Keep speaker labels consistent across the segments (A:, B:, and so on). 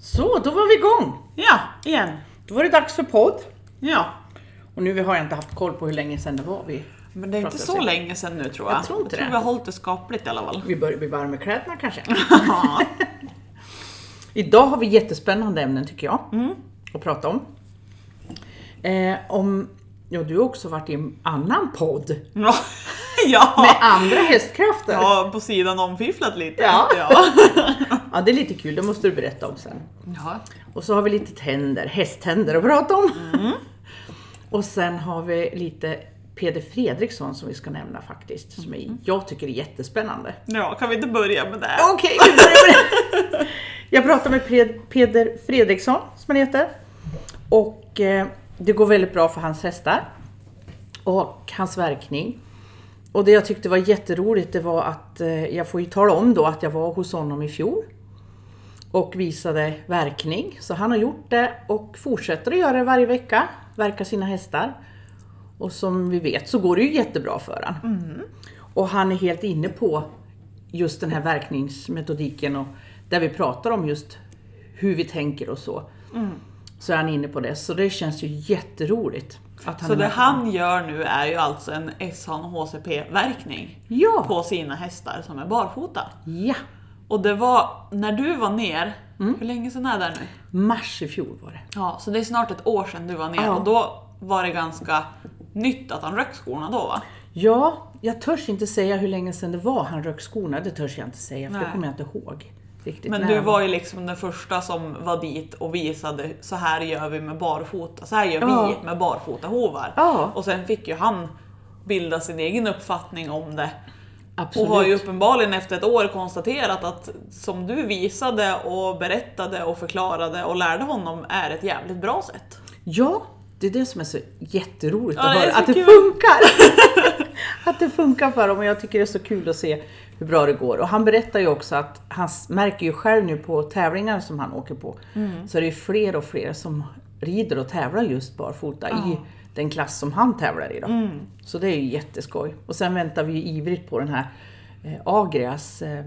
A: Så, då var vi igång.
B: Ja, igen.
A: Då var det dags för podd.
B: Ja.
A: Och nu har jag inte haft koll på hur länge sedan det var vi.
B: Men det är inte
A: Pratar
B: så
A: sig.
B: länge sedan nu tror jag.
A: Jag tror inte
B: jag tror
A: det.
B: vi har hållit det skapligt i alla fall.
A: Vi börjar bli varma i kläderna kanske.
B: Ja.
A: Idag har vi jättespännande ämnen tycker jag. Att prata om. Eh, om ja, du har också varit i en annan podd.
B: ja. ja.
A: Med andra hästkrafter. Ja.
B: ja, på sidan om fifflat lite.
A: Ja.
B: Ja.
A: det är lite kul. Det måste du berätta om sen.
B: ja.
A: Och så har vi lite tänder, hästtänder att prata om. Och sen har vi lite Peder Fredriksson som vi ska nämna faktiskt. Som är, jag tycker är jättespännande.
B: Ja, kan vi inte börja med det?
A: Okej, vi börjar med det. Jag pratar med Pred- Peder Fredriksson, som han heter. Och eh, det går väldigt bra för hans hästar. Och hans verkning. Och det jag tyckte var jätteroligt, det var att eh, jag får ju tala om då att jag var hos honom i fjol. Och visade verkning. Så han har gjort det och fortsätter att göra det varje vecka. Verka sina hästar. Och som vi vet så går det ju jättebra för honom.
B: Mm.
A: Och han är helt inne på just den här verkningsmetodiken och där vi pratar om just hur vi tänker och så.
B: Mm.
A: Så är han inne på det. Så det känns ju jätteroligt. Att han
B: Så
A: är
B: det
A: med.
B: han gör nu är ju alltså en SHCP-verkning
A: Ja!
B: på sina hästar som är barfota.
A: Ja!
B: Och det var när du var ner, hur länge sedan är det nu?
A: Mars i fjol var det.
B: Mm. Ja, så det är snart ett år sedan du var ner
A: Ja.
B: och då var det ganska nytt att han rök skorna då va?
A: Ja, jag törs inte säga hur länge sedan det var han rök skorna. Det törs jag inte säga för det
B: Nej.
A: kommer jag inte ihåg. Riktigt
B: Men
A: när
B: du
A: han
B: var ju liksom den första som var dit och visade så här gör vi med barfota, så här gör
A: Ja.
B: vi med barfota hovar.
A: Ja.
B: Och sen fick ju han bilda sin egen uppfattning om det.
A: Absolut.
B: Och har ju uppenbarligen efter ett år konstaterat att som du visade och berättade och förklarade och lärde honom är ett jävligt bra sätt.
A: Ja, det är det som är så jätteroligt
B: Ja,
A: att
B: det är
A: höra.
B: så
A: Att det
B: kul.
A: funkar! att det funkar för dem och jag tycker det är så kul att se hur bra det går. Och han berättar ju också att han s- märker ju själv nu på tävlingar som han åker på
B: Mm.
A: så är det ju fler och fler som rider och tävlar just barfota i den klass som han tävlar i. Då.
B: Mm.
A: Så det är ju jätteskoj. Och sen väntar vi ju ivrigt på den här eh, Agrias, eh,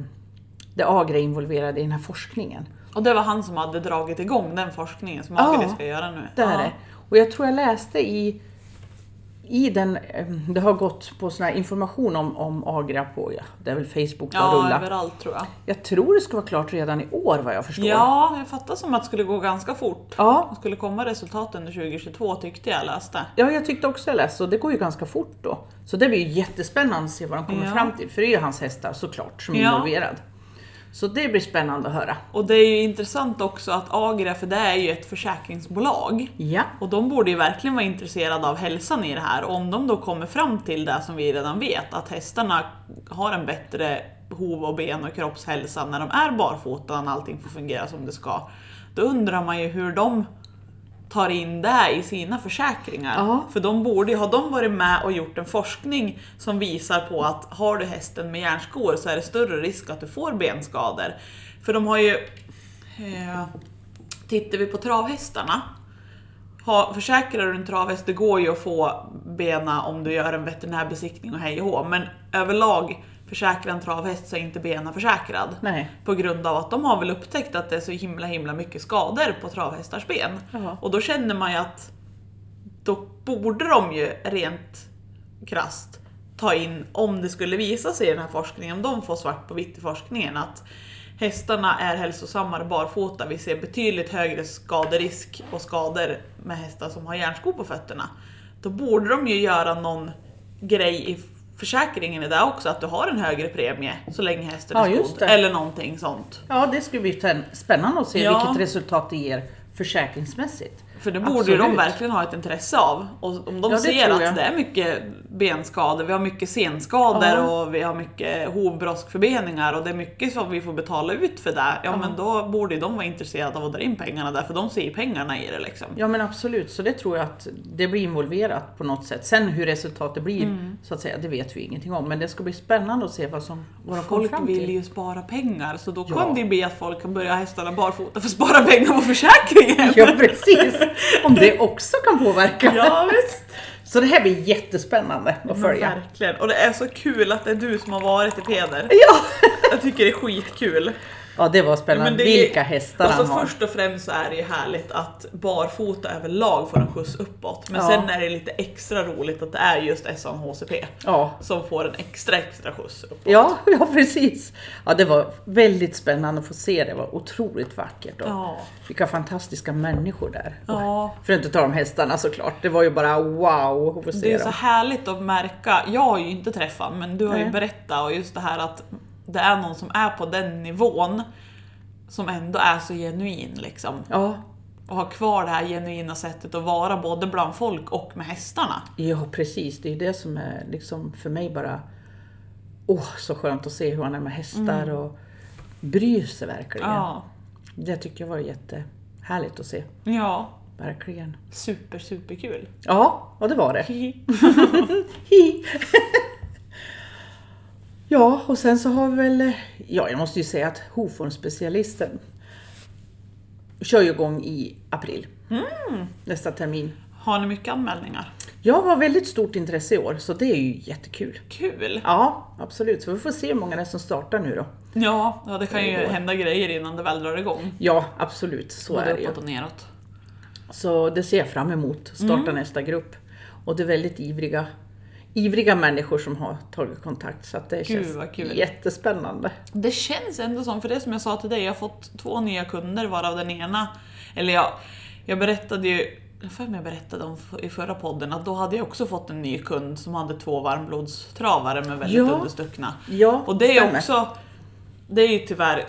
A: det Agria är involverad i den här forskningen.
B: Och det var han som hade dragit igång den forskningen som
A: Ja,
B: Agnes ska göra nu.
A: Det är
B: Ja.
A: det. Och jag tror jag läste i, i den, eh, det har gått på sån här information om, om Agra på, ja, det är väl Facebook det har
B: Ja,
A: rullat.
B: överallt tror jag.
A: Jag tror det ska vara klart redan i år vad jag förstår.
B: Ja, jag fattar som att det skulle gå ganska fort.
A: Ja,
B: Det skulle komma resultat under 2022 tyckte jag läste.
A: ja, jag tyckte också jag läste så det går ju ganska fort då. Så det blir ju jättespännande att se vad de kommer
B: Ja.
A: fram till, för det är ju hans hästar såklart som är
B: Ja.
A: involverad. Så det blir spännande att höra.
B: Och det är ju intressant också att Agria, för det är ju ett försäkringsbolag,
A: Ja,
B: och de borde ju verkligen vara intresserade av hälsan i det här. Och om de då kommer fram till det som vi redan vet, att hästarna har en bättre hov och ben och kroppshälsa när de är barfota, när allting får fungera som det ska. Då undrar man ju hur de tar in det i sina försäkringar.
A: Ja.
B: För de borde ju, har de varit med och gjort en forskning som visar på att har du hästen med järnskor så är det större risk att du får benskador. För de har ju... Eh, tittar vi på travhästarna ha, försäkrar du en travhäst, det går ju att få bena om du gör en veterinärbesiktning och hej och hå, men överlag försäkrar en travhäst så är inte bena försäkrad.
A: nej.
B: På grund av att de har väl upptäckt att det är så himla himla mycket skador på travhästars ben.
A: Jaha.
B: Och då känner man ju att då borde de ju rent krasst ta in, om det skulle visa sig i den här forskningen, om de får svart på vitt i forskningen, att hästarna är hälsosammare barfota. Vi ser betydligt högre skaderisk och skador med hästar som har järnskor på fötterna. Då borde de ju göra någon grej i försäkringen i det också, att du har en högre premie så länge hästen är
A: Ja, just
B: skodd.
A: det.
B: Eller någonting sånt.
A: Ja, det ska bli spänn- spännande att se
B: Ja.
A: vilket resultat det ger försäkringsmässigt.
B: För det borde ju de
A: Absolut.
B: verkligen ha ett intresse av. Och om de
A: Ja, det
B: ser
A: tror
B: att
A: jag.
B: det är mycket benskador, vi har mycket senskador
A: Ja.
B: och vi har mycket hovbroskförbeningar och det är mycket som vi får betala ut för det. Ja, men då borde ju de vara intresserade av att dra in pengarna där, för de ser ju pengarna i det liksom.
A: Ja men absolut, så det tror jag att det blir involverat på något sätt. Sen hur resultatet blir,
B: Mm.
A: så att säga, det vet vi ingenting om. Men det ska bli spännande att se vad, som, vad de kommer
B: Folk
A: fram
B: vill
A: till.
B: ju spara pengar så då
A: Ja.
B: kan det ju bli att folk kan börja ha hästarna barfota för att spara pengar på försäkringen.
A: Ja precis! Om det också kan påverka.
B: ja visst!
A: Så det här blir jättespännande att följa.
B: Verkligen. Och det är så kul att det är du som har varit i Peder.
A: Ja.
B: Jag tycker det är skitkul.
A: Ja, det var spännande.
B: Men det är-
A: Vilka hästar
B: och så
A: han har.
B: Först och främst så är det ju härligt att barfota överlag får en skjuts uppåt. Men
A: Ja.
B: sen är det lite extra roligt att det är just SANHCP
A: Ja.
B: som får en extra extra skjuts uppåt.
A: Ja, ja, precis. Ja, det var väldigt spännande att få se. Det var otroligt vackert. Och
B: Ja.
A: Vilka fantastiska människor där.
B: Ja.
A: För att inte tala om hästarna såklart. Det var ju bara wow att få se
B: Det är så
A: dem.
B: härligt att märka, jag har ju inte träffat men du har ju
A: Nej.
B: berättat och just det här att det är någon som är på den nivån som ändå är så genuin liksom.
A: Ja,
B: Och har kvar det här genuina sättet att vara både bland folk och med hästarna.
A: ja, precis. Det är det som är liksom för mig bara... Åh, så skönt att se hur han är med hästar och bryr sig verkligen.
B: Ja.
A: Det tycker jag var jättehärligt att se.
B: Ja.
A: Verkligen.
B: Super, superkul.
A: Ja, ja det var det. Hi. ja, och sen så har vi väl, ja jag måste ju säga att Hoformspecialisten kör ju igång i april. Nästa termin.
B: Har ni mycket anmälningar?
A: Jag var väldigt stort intresse i år, så det är ju jättekul.
B: Kul!
A: Ja, absolut. Så vi får se hur många det är som startar nu då.
B: Ja, ja det kan ju
A: Det går.
B: hända grejer innan det väl drar igång.
A: Ja, absolut. Så
B: Både
A: är det ju.
B: uppåt och neråt.
A: Så det ser jag fram emot, starta
B: Mm.
A: nästa grupp. Och det är väldigt ivriga, ivriga människor som har tagit kontakt så att det känns
B: vad kul.
A: jättespännande.
B: Det känns ändå som, för det som jag sa till dig, jag har fått två nya kunder varav den ena, eller jag, jag berättade ju, jag för mig jag berättade om f- i förra podden att då hade jag också fått en ny kund som hade två varmblodstravare med väldigt
A: Ja.
B: understuckna.
A: Ja,
B: Och det är
A: stämmer.
B: också, det är ju tyvärr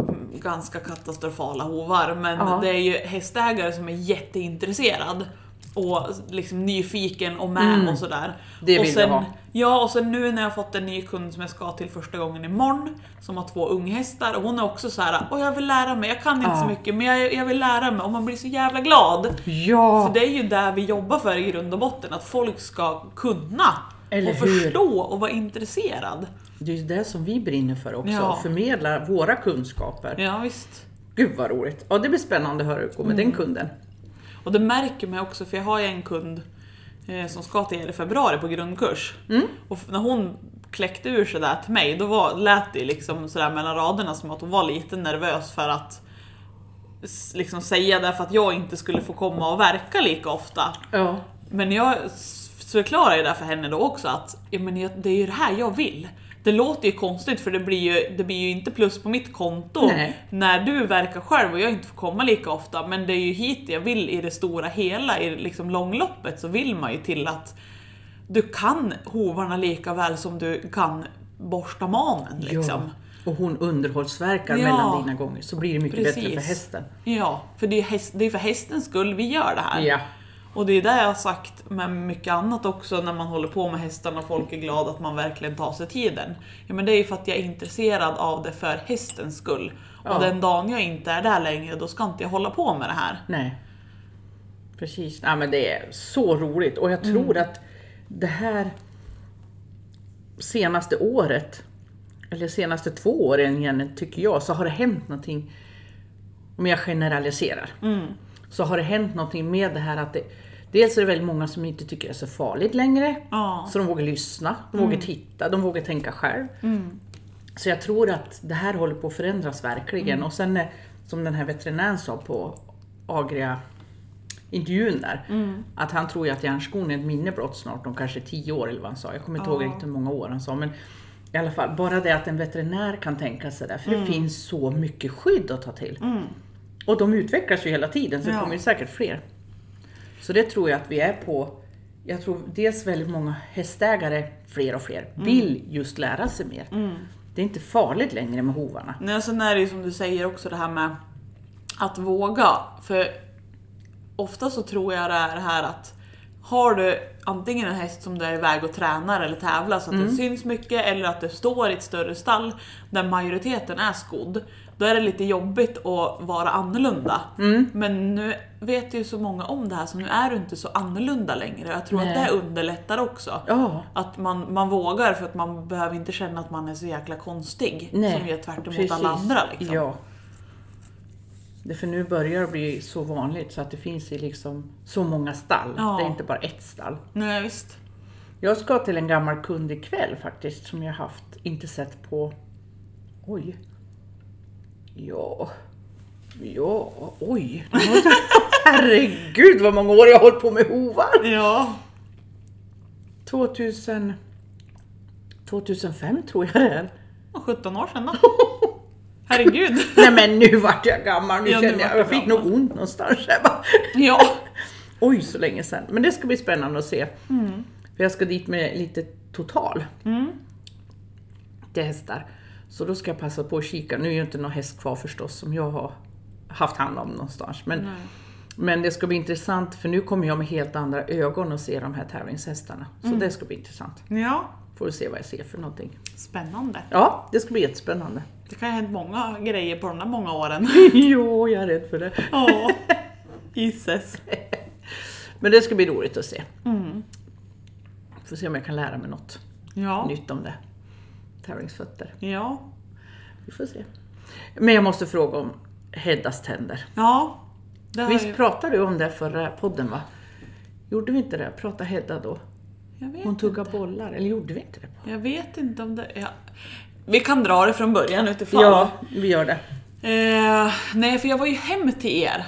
B: mm, ganska katastrofala hovar men
A: Ja.
B: det är ju hästägare som är jätteintresserad och liksom nyfiken och med
A: Mm.
B: och sådär.
A: Det
B: och
A: vill vi ha.
B: Ja, och sen nu när jag har fått en ny kund som jag ska till första gången imorgon som har två unghästar och hon är också så här, och jag vill lära mig, jag kan inte
A: Ja.
B: så mycket men jag, jag vill lära mig och man blir så jävla glad.
A: Ja,
B: För det är ju där vi jobbar för i grund och botten, att folk ska kunna
A: Eller
B: och
A: hur?
B: förstå och vara intresserad.
A: det är ju det som vi brinner för också,
B: Ja.
A: förmedla våra kunskaper.
B: Ja, visst.
A: Gud vad roligt! Ja, det blir spännande att höra hur det går med
B: Mm.
A: den kunden.
B: Och det märker man också för jag har ju en kund eh, som ska till er i februari på grundkurs. Och f- när hon kläckte ur sig där till mig då var, lät det liksom sådär mellan raderna som att hon var lite nervös för att s- liksom säga det för att jag inte skulle få komma och verka lika ofta.
A: Ja,
B: Men jag s- förklarar ju det för henne då också att ja, men jag, det är ju det här jag vill. Det låter ju konstigt för det blir ju, det blir ju inte plus på mitt konto
A: Nej.
B: när du verkar själv och jag inte får komma lika ofta. Men det är ju hit jag vill i det stora hela, i liksom långloppet så vill man ju till att du kan hovarna lika väl som du kan borsta manen. Liksom.
A: ja. Och hon underhållsverkar
B: Ja.
A: mellan dina gånger så blir det mycket bättre
B: Precis.
A: för hästen.
B: Ja, för det är, häst, det är för hästens skull vi gör det här.
A: Ja.
B: Och det är det jag har sagt med mycket annat också när man håller på med hästarna och folk är glada att man verkligen tar sig tiden. Ja, men det är ju för att jag är intresserad av det för hästens skull.
A: Ja.
B: Och den dagen jag inte är där längre, då ska inte jag hålla på med det här.
A: Nej. Precis. Ja, men det är så roligt och jag tror att det här senaste året, eller senaste två åren egentligen, tycker jag, så har det hänt någonting, om jag generaliserar, så har det hänt någonting med det här att det, dels är det väldigt många som inte tycker det är så farligt längre,
B: Ja. Mm.
A: så de vågar lyssna, de vågar titta, de vågar tänka själv. Så jag tror att det här håller på att förändras verkligen.
B: Mm.
A: Och sen eh, som den här veterinären sa på Agria intervjun där,
B: Mm.
A: att han tror ju att hjärnskon är ett minne blott snart om kanske 10 år eller vad han sa. Jag kommer inte ihåg riktigt hur många år han sa. Men i alla fall, bara det att en veterinär kan tänka sig det, för
B: Mm.
A: det finns så mycket skydd att ta till. Och de utvecklas ju hela tiden, så det
B: Ja.
A: kommer ju säkert fler. Så det tror jag att vi är på. Jag tror dels väldigt många hästägare, fler och fler,
B: Mm.
A: vill just lära sig mer. Det är inte farligt längre med hovarna.
B: Nej, och sen är det ju som du säger också det här med att våga. För ofta så tror jag det är det här att har du antingen en häst som du är iväg och tränar eller tävlar så att den syns mycket eller att du står i ett större stall där majoriteten är skodd. Då är det lite jobbigt att vara annorlunda. Men nu vet ju så många om det här så nu är du inte så annorlunda längre. Jag tror att
A: Nej.
B: det underlättar också.
A: Ja,
B: Att man, man vågar för att man behöver inte känna att man är så jäkla konstig
A: nej.
B: som gör tvärt emot
A: precis.
B: alla andra. Liksom.
A: Ja. Det är för nu börjar det bli så vanligt så att det finns i liksom så många stall.
B: Ja.
A: Det är inte bara ett stall.
B: Nej, visst.
A: Jag ska till en gammal kund ikväll faktiskt som jag haft, inte sett på, oj, Ja. Ja, oj. Herregud vad många år jag har hållit på med hovar.
B: Ja.
A: 2000... 2005 tror jag det är.
B: Och 17 år sedan då. Herregud.
A: Nej men nu vart jag gammal. Nu
B: Ja, nu
A: känner
B: vart
A: jag,
B: du
A: jag fick
B: gammal.
A: nog ont någonstans. Jag bara,
B: Ja.
A: oj, så länge sedan. Men det ska bli spännande att se. För jag ska dit med lite total
B: Mm.
A: till hästar. Så då ska jag passa på att kika. Nu är ju inte någon häst kvar förstås som jag har haft hand om någonstans. Men, men det ska bli intressant för nu kommer jag med helt andra ögon och se de här tävlingshästarna. Så det ska bli intressant.
B: Ja.
A: Får vi se vad jag ser för någonting.
B: Spännande.
A: Ja, det ska bli jättespännande.
B: Det kan ju ha hänt många grejer på de där många åren.
A: jo, jag är rädd för det.
B: Ja. Gisses.
A: Men det ska bli roligt att se. Får se om jag kan lära mig något
B: Ja.
A: nytt om det. Tävlingsfötter.
B: Ja.
A: Vi får se. Men jag måste fråga om Heddas tänder.
B: Ja. Det har
A: Visst
B: ju...
A: pratade du om det förra podden va? Gjorde vi inte det? Prata Hedda då?
B: Jag vet
A: Hon tuggar bollar, eller gjorde vi inte det?
B: Jag vet inte om det... Ja. Vi kan dra det från början utifrån.
A: Ja, vi gör det.
B: Eh, nej, för jag var ju hem till er.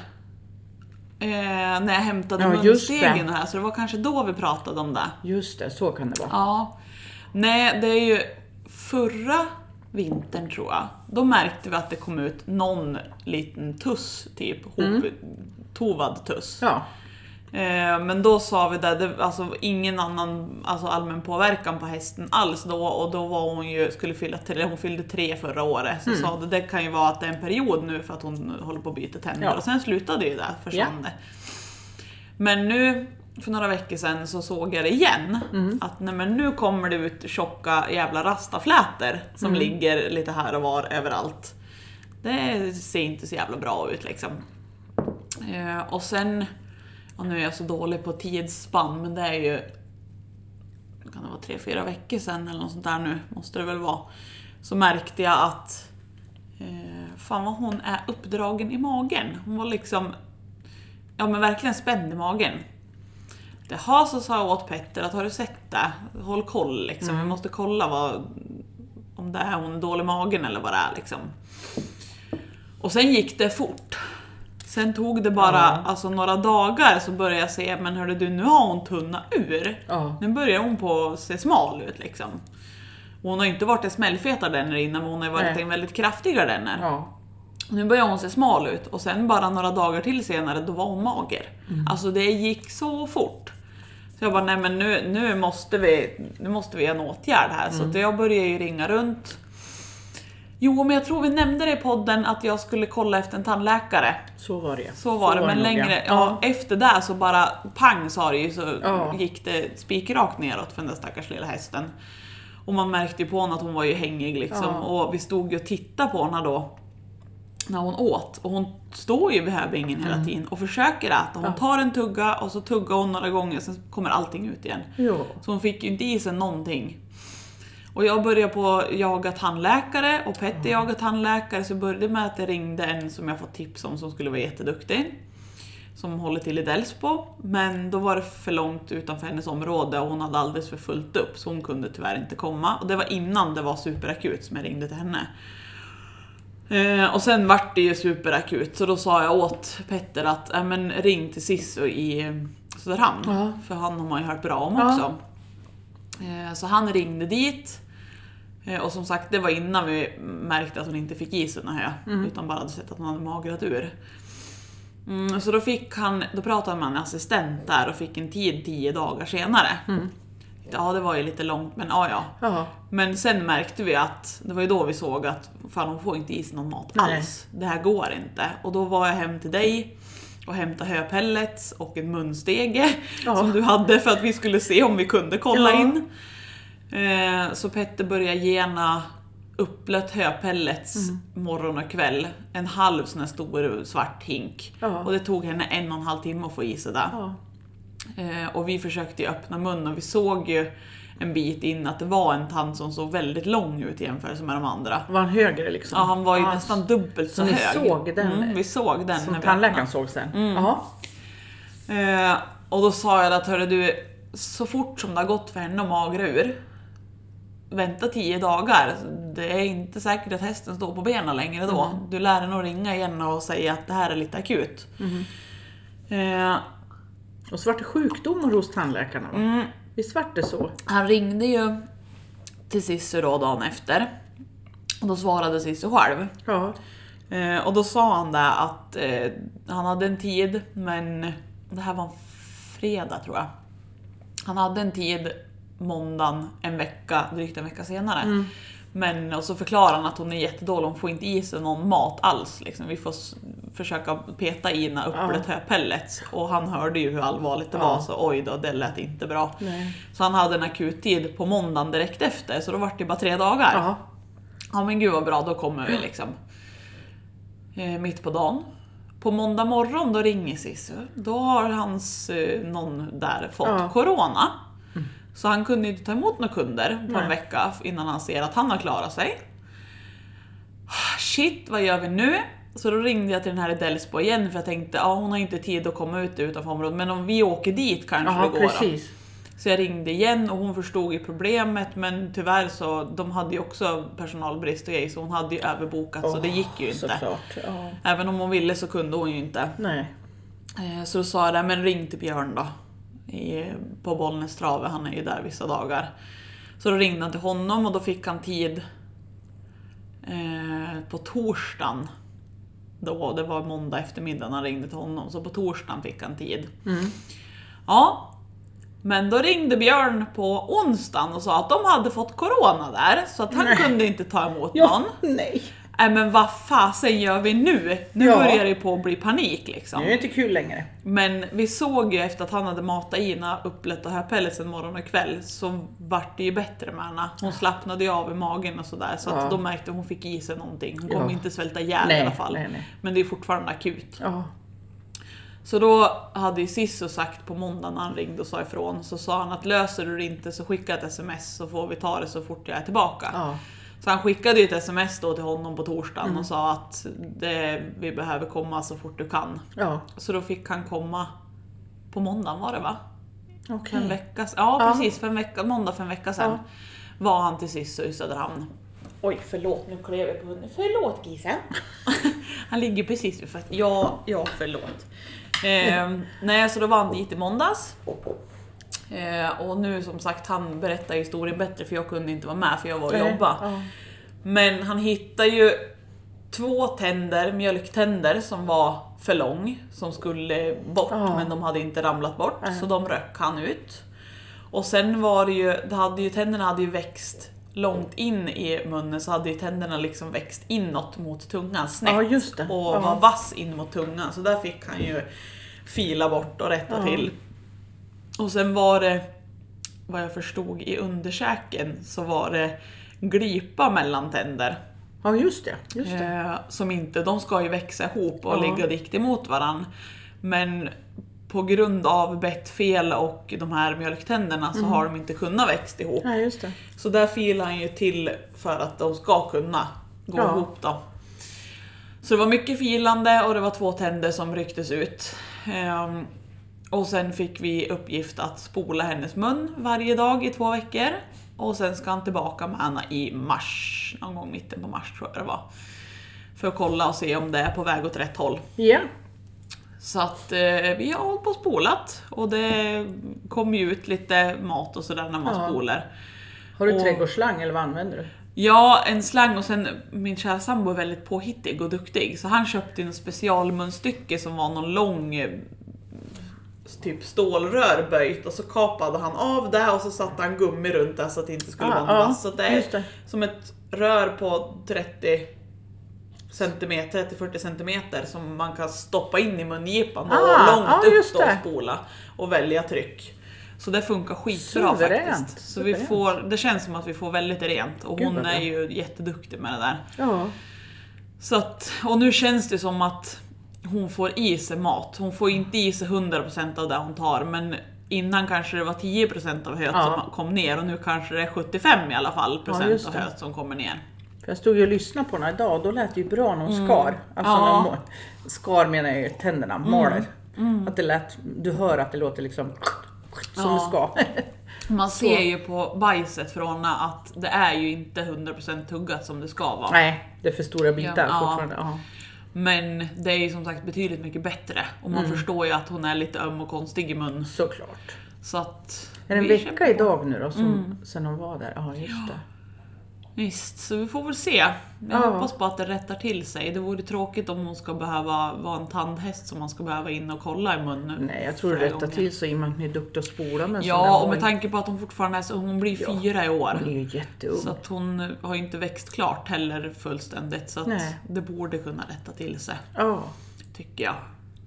B: Eh, när jag hämtade
A: Ja, just det.
B: munstegen och här, så det var kanske då vi pratade om det.
A: Just det, så kan det vara.
B: Ja. Nej, det är ju förra vintern tror jag. Då märkte vi att det kom ut någon liten tuss, typ
A: Mm.
B: hoptovad tuss.
A: Ja,
B: Eh, Men då sa vi det, det alltså ingen annan alltså allmän påverkan på hästen alls då och då var hon ju, skulle fylla tre, hon fyllde tre förra året. Så sa det, det kan ju vara att det är en period nu för att hon håller på att byta tänder
A: Ja.
B: och sen slutade ju det, försvann det. Men nu för några veckor sedan så såg jag det igen. Att nej, men nu kommer det ut tjocka jävla rastaflätor som ligger lite här och var överallt. Det ser inte så jävla bra ut liksom. Eh, och sen, och nu är jag så dålig på tidsspann, men det är ju kan det vara tre, fyra veckor sedan eller något sånt där nu, måste det väl vara. Så märkte jag att eh, fan vad hon är uppdragen i magen. Hon var liksom, ja men verkligen spänd i magen. Jaha, så sa jag åt Petter att har du sett det? Håll koll liksom, vi måste kolla vad, om det är hon är dålig i magen eller vad det är liksom. Och sen gick det fort. Sen tog det bara alltså, några dagar så började jag se, men hörde du nu har hon tunna ur.
A: ja.
B: Nu börjar hon på att se smal ut liksom. Och Hon har inte varit en smällfet ardenner innan men hon har ju varit
A: Nej.
B: en väldigt kraftig ardenner.
A: ja.
B: Och Nu börjar hon se smal ut och sen bara några dagar till senare då var hon mager.
A: Mm.
B: Alltså det gick så fort. Så jag bara, nej men nu, nu, måste, vi, nu måste vi göra en åtgärd här. Så
A: Mm.
B: att jag började ju ringa runt. Jo men jag tror vi nämnde det i podden att jag skulle kolla efter en tandläkare.
A: Så var det
B: Så var det, men
A: nog,
B: längre, ja.
A: Ja.
B: efter det så bara pang sa det ju så
A: Ja.
B: gick det spikrakt neråt för den där stackars lilla hästen. Och man märkte ju på henne att hon var ju hängig liksom
A: Ja.
B: och vi stod ju och tittade på henne då när hon åt och hon står ju vid höbingen hela tiden och försöker äta. Hon
A: Mm. Ja.
B: tar en tugga och så tuggar hon några gånger sen kommer allting ut igen.
A: Ja.
B: Så hon fick ju inte i sig någonting. Och jag började på att jaga tandläkare och Petter jagade tandläkare så började med att jag ringde en som jag fått tips om som skulle vara jätteduktig. Som håller till i Delsbo. Men då var det för långt utanför hennes område och hon hade alldeles för fullt upp så hon kunde tyvärr inte komma. Och det var innan det var superakut som jag ringde till henne. Eh, och sen vart det ju superakut så då sa jag åt Petter att äh, men ring till Sisu i eh, Söderhamn.
A: Ja.
B: För han har man ju hört bra om
A: Ja.
B: också. Eh, så han ringde dit. Eh, och som sagt, det var innan vi märkte att hon inte fick i sig något hö. Utan bara hade sett att hon hade magrat ur. Mm, så då fick han, då pratade han med en assistent där och fick en tid tio dagar senare. Ja, det var ju lite långt men ja, ja.
A: Ja.
B: Men sen märkte vi att, det var ju då vi såg att fan hon får inte i sig någon mat alls. Det här går inte. Och då var jag hem till dig och hämtade höpellets och en munstege
A: Ja.
B: som du hade för att vi skulle se om vi kunde kolla
A: Ja.
B: in. Eh, så Petter började gena uppblött höpellets
A: Mm.
B: morgon och kväll. En halv sån här stor svart hink.
A: Ja.
B: Och det tog henne en och en halv timme att få i sig det.
A: Ja.
B: Eh, och vi försökte ju öppna munnen och vi såg ju en bit in att det var en tand som såg väldigt lång ut i jämförelse med de andra.
A: Var han högre liksom?
B: Ja, han var ju
A: Ja,
B: nästan dubbelt så,
A: så ni
B: hög.
A: såg den?
B: Mm, vi såg den. Mm. när
A: Som
B: vi
A: tandläkaren såg sen? Ja.
B: Eh, och då sa jag att hörru du, så fort som det har gått för henne att magra ur vänta 10 dagar. Alltså, Det är inte säkert att hästen står på benen längre då.
A: Mm.
B: Du lär den att ringa igen och säga att det här är lite akut.
A: Mm-hmm.
B: Eh,
A: Och så vart det sjukdomar hos tandläkarna va?
B: mm,
A: Visst vart det så?
B: han ringde ju till Sissu då dagen efter. Och då svarade Sissu själv.
A: Ja.
B: Eh, och då sa han det att eh, han hade en tid, men det här var en fredag tror jag. Han hade en tid måndagen en vecka, drygt en vecka senare.
A: Mm.
B: Men och så förklarar han att hon är jättedålig, hon får inte i sig någon mat alls. Liksom. Vi får s- försöka peta i när äpplet ja. pellets. Och han hörde ju hur allvarligt det
A: Ja.
B: var, så oj då, det lät inte bra.
A: Nej.
B: Så han hade en akuttid på måndagen direkt efter, så då var det bara tre dagar.
A: Ja.
B: Ja men gud vad bra, då kommer vi liksom. Eh, mitt på dagen. På måndag morgon då ringer Sisu. Då har hans eh, någon där fått
A: Ja. Mm.
B: corona. Så han kunde inte ta emot några kunder på
A: Nej.
B: en vecka innan han ser att han har klarat sig. Shit, vad gör vi nu? Så då ringde jag till den här i Delsbo igen för jag tänkte ja hon har inte tid att komma ut utanför området men om vi åker dit kanske
A: Ja,
B: det går. Då.
A: precis.
B: Så jag ringde igen och hon förstod ju problemet men tyvärr så de hade ju också personalbrist och grejer så hon hade ju överbokat så det gick ju
A: Åh,
B: inte.
A: Såklart. Ja.
B: Även om hon ville så kunde hon ju inte.
A: Nej.
B: Eh, Så då sa jag det, men ring till Björn då. I, på Bollnäs Trave, han är ju där vissa dagar. Så då ringde han till honom och då fick han tid eh, på torsdagen. Då, det var måndag eftermiddag när han ringde till honom, så på torsdagen fick han tid.
A: Mm.
B: Ja. Men då ringde Björn på onsdagen och sa att de hade fått corona där, så att han
A: Nej.
B: kunde inte ta emot någon.
A: Ja, nej.
B: Nej men vad fasen gör vi nu? Nu
A: Ja.
B: börjar det på att bli panik liksom.
A: Nu är det inte kul längre.
B: Men vi såg ju efter att han hade matat Ina upplätt och höpellisen morgon och kväll så vart det ju bättre med henne. Hon slappnade ju av i magen och sådär så
A: Ja.
B: att de märkte att hon fick i sig någonting. Hon kommer
A: Ja.
B: inte svälta ihjäl i
A: Nej,
B: alla fall.
A: nej, nej.
B: Men det är fortfarande akut.
A: Ja.
B: Så då hade ju Sisu sagt på måndagen när han ringde och sa ifrån så sa han att löser du det inte så skicka ett sms så får vi ta det så fort jag är tillbaka.
A: Ja. Mm.
B: Så han skickade ju ett sms då till honom på torsdagen och sa att det, vi behöver komma så fort du kan.
A: Ja.
B: Så då fick han komma på måndagen var det va? För
A: Okej.
B: en vecka, s- ja,
A: Ja.
B: precis, för en vecka, måndag för en vecka sedan var han till Sissu i Söderhamn. Oj förlåt, nu klev jag på hunden. Förlåt Gisen! han ligger precis vid fötterna. Ja, ja förlåt. Ehm, nej, så då var han dit i måndags. Eh, och nu som sagt, han berättar historien bättre för jag kunde inte vara med för jag var och
A: Nej.
B: jobbade.
A: Ja.
B: Men han hittar ju två tänder, mjölktänder som var för lång, som skulle bort
A: Ja.
B: men de hade inte ramlat bort
A: Nej.
B: så de röck han ut. Och sen var det ju, det hade ju tänderna hade ju växt långt in i munnen så hade ju tänderna liksom växt inåt mot tungan snett
A: Ja, just det.
B: och
A: Ja.
B: var vass in mot tungan så där fick han ju fila bort och rätta
A: Ja.
B: till. Och sen var det, vad jag förstod i underkäken, så var det glipa mellan tänder.
A: ja, just det. Just det.
B: Eh, som inte, de ska ju växa ihop och
A: Ja.
B: ligga dikt emot varann. Men på grund av bettfel och de här mjölktänderna så
A: Mm.
B: har de inte kunnat växt ihop.
A: Ja, just det.
B: Så där filar han ju till för att de ska kunna gå
A: Ja.
B: ihop då. Så det var mycket filande och det var två tänder som rycktes ut. Ehm, och sen fick vi uppgift att spola hennes mun varje dag i två veckor. Och sen ska han tillbaka med henne i mars, någon gång mitten på mars tror jag det var. För att kolla och se om det är på väg åt rätt håll.
A: Ja.
B: Så att eh, vi har hållit på och spolat och det kommer ju ut lite mat och sådär när man
A: Ja.
B: spolar.
A: Har du
B: Och-
A: trädgårdsslang eller vad använder du?
B: Ja, en slang och sen min kära sambo är väldigt påhittig och duktig så han köpte en specialmunstycke som var någon lång eh, typ stålrör böjt och så kapade han av det och så satte han gummi runt det så att det inte skulle
A: Ah,
B: vara någon
A: ja,
B: vass. Så det är
A: just det.
B: som ett rör på 30 centimeter, 30-40 centimeter som man kan stoppa in i mungipan och
A: Ah,
B: långt
A: ja,
B: upp
A: just
B: då och
A: det.
B: spola och välja tryck. Så det funkar skitbra
A: Suveränt,
B: faktiskt. Så vi
A: suveränt.
B: får, det känns som att vi får väldigt rent och
A: Gud,
B: hon
A: vad bra.
B: är ju jätteduktig med det där.
A: Ja.
B: Så att, och nu känns det som att hon får i sig mat. Hon får inte i sig 100% av det hon tar men innan kanske det var 10% av höet
A: Ja.
B: som kom ner och nu kanske det är 75 i alla fall
A: Ja,
B: procent
A: just
B: av
A: det.
B: höet som kommer ner.
A: För jag stod ju och lyssnade på den här idag och då lät det ju bra när hon skar. Alltså
B: Mm. Ja. Mm.
A: när hon, må- skar menar jag ju tänderna, maler. Att det lät, du hör att det låter liksom som
B: Ja.
A: det ska.
B: Man ser ju på bajset från henne att det är ju inte 100% tuggat som det ska vara.
A: Nej, det är för stora bitar
B: Ja, ja.
A: fortfarande. Ja.
B: Men det är ju som sagt betydligt mycket bättre. Och man
A: Mm.
B: förstår ju att hon är lite öm och konstig i mun.
A: Såklart.
B: Så att...
A: Är det en
B: vi Mm.
A: vecka
B: kämpar.
A: idag nu då, som, sen hon var där? Ja, just det.
B: Visst, så vi får väl se. Jag
A: Ja.
B: hoppas på att det rättar till sig. Det vore tråkigt om hon ska behöva vara en tandhäst som man ska behöva in och kolla i munnen.
A: Nej, jag tror det
B: flera
A: rättar
B: gånger.
A: till sig i och med att ni är duktiga att spola med en sån
B: Ja,
A: där
B: och med
A: boll.
B: tanke på att hon fortfarande är så ung. Hon blir
A: Ja.
B: fyra i år.
A: Hon är ju jätteung.
B: Så att hon har ju inte växt klart heller fullständigt. Så att
A: Nej.
B: det borde kunna rätta till sig,
A: Ja.
B: tycker jag.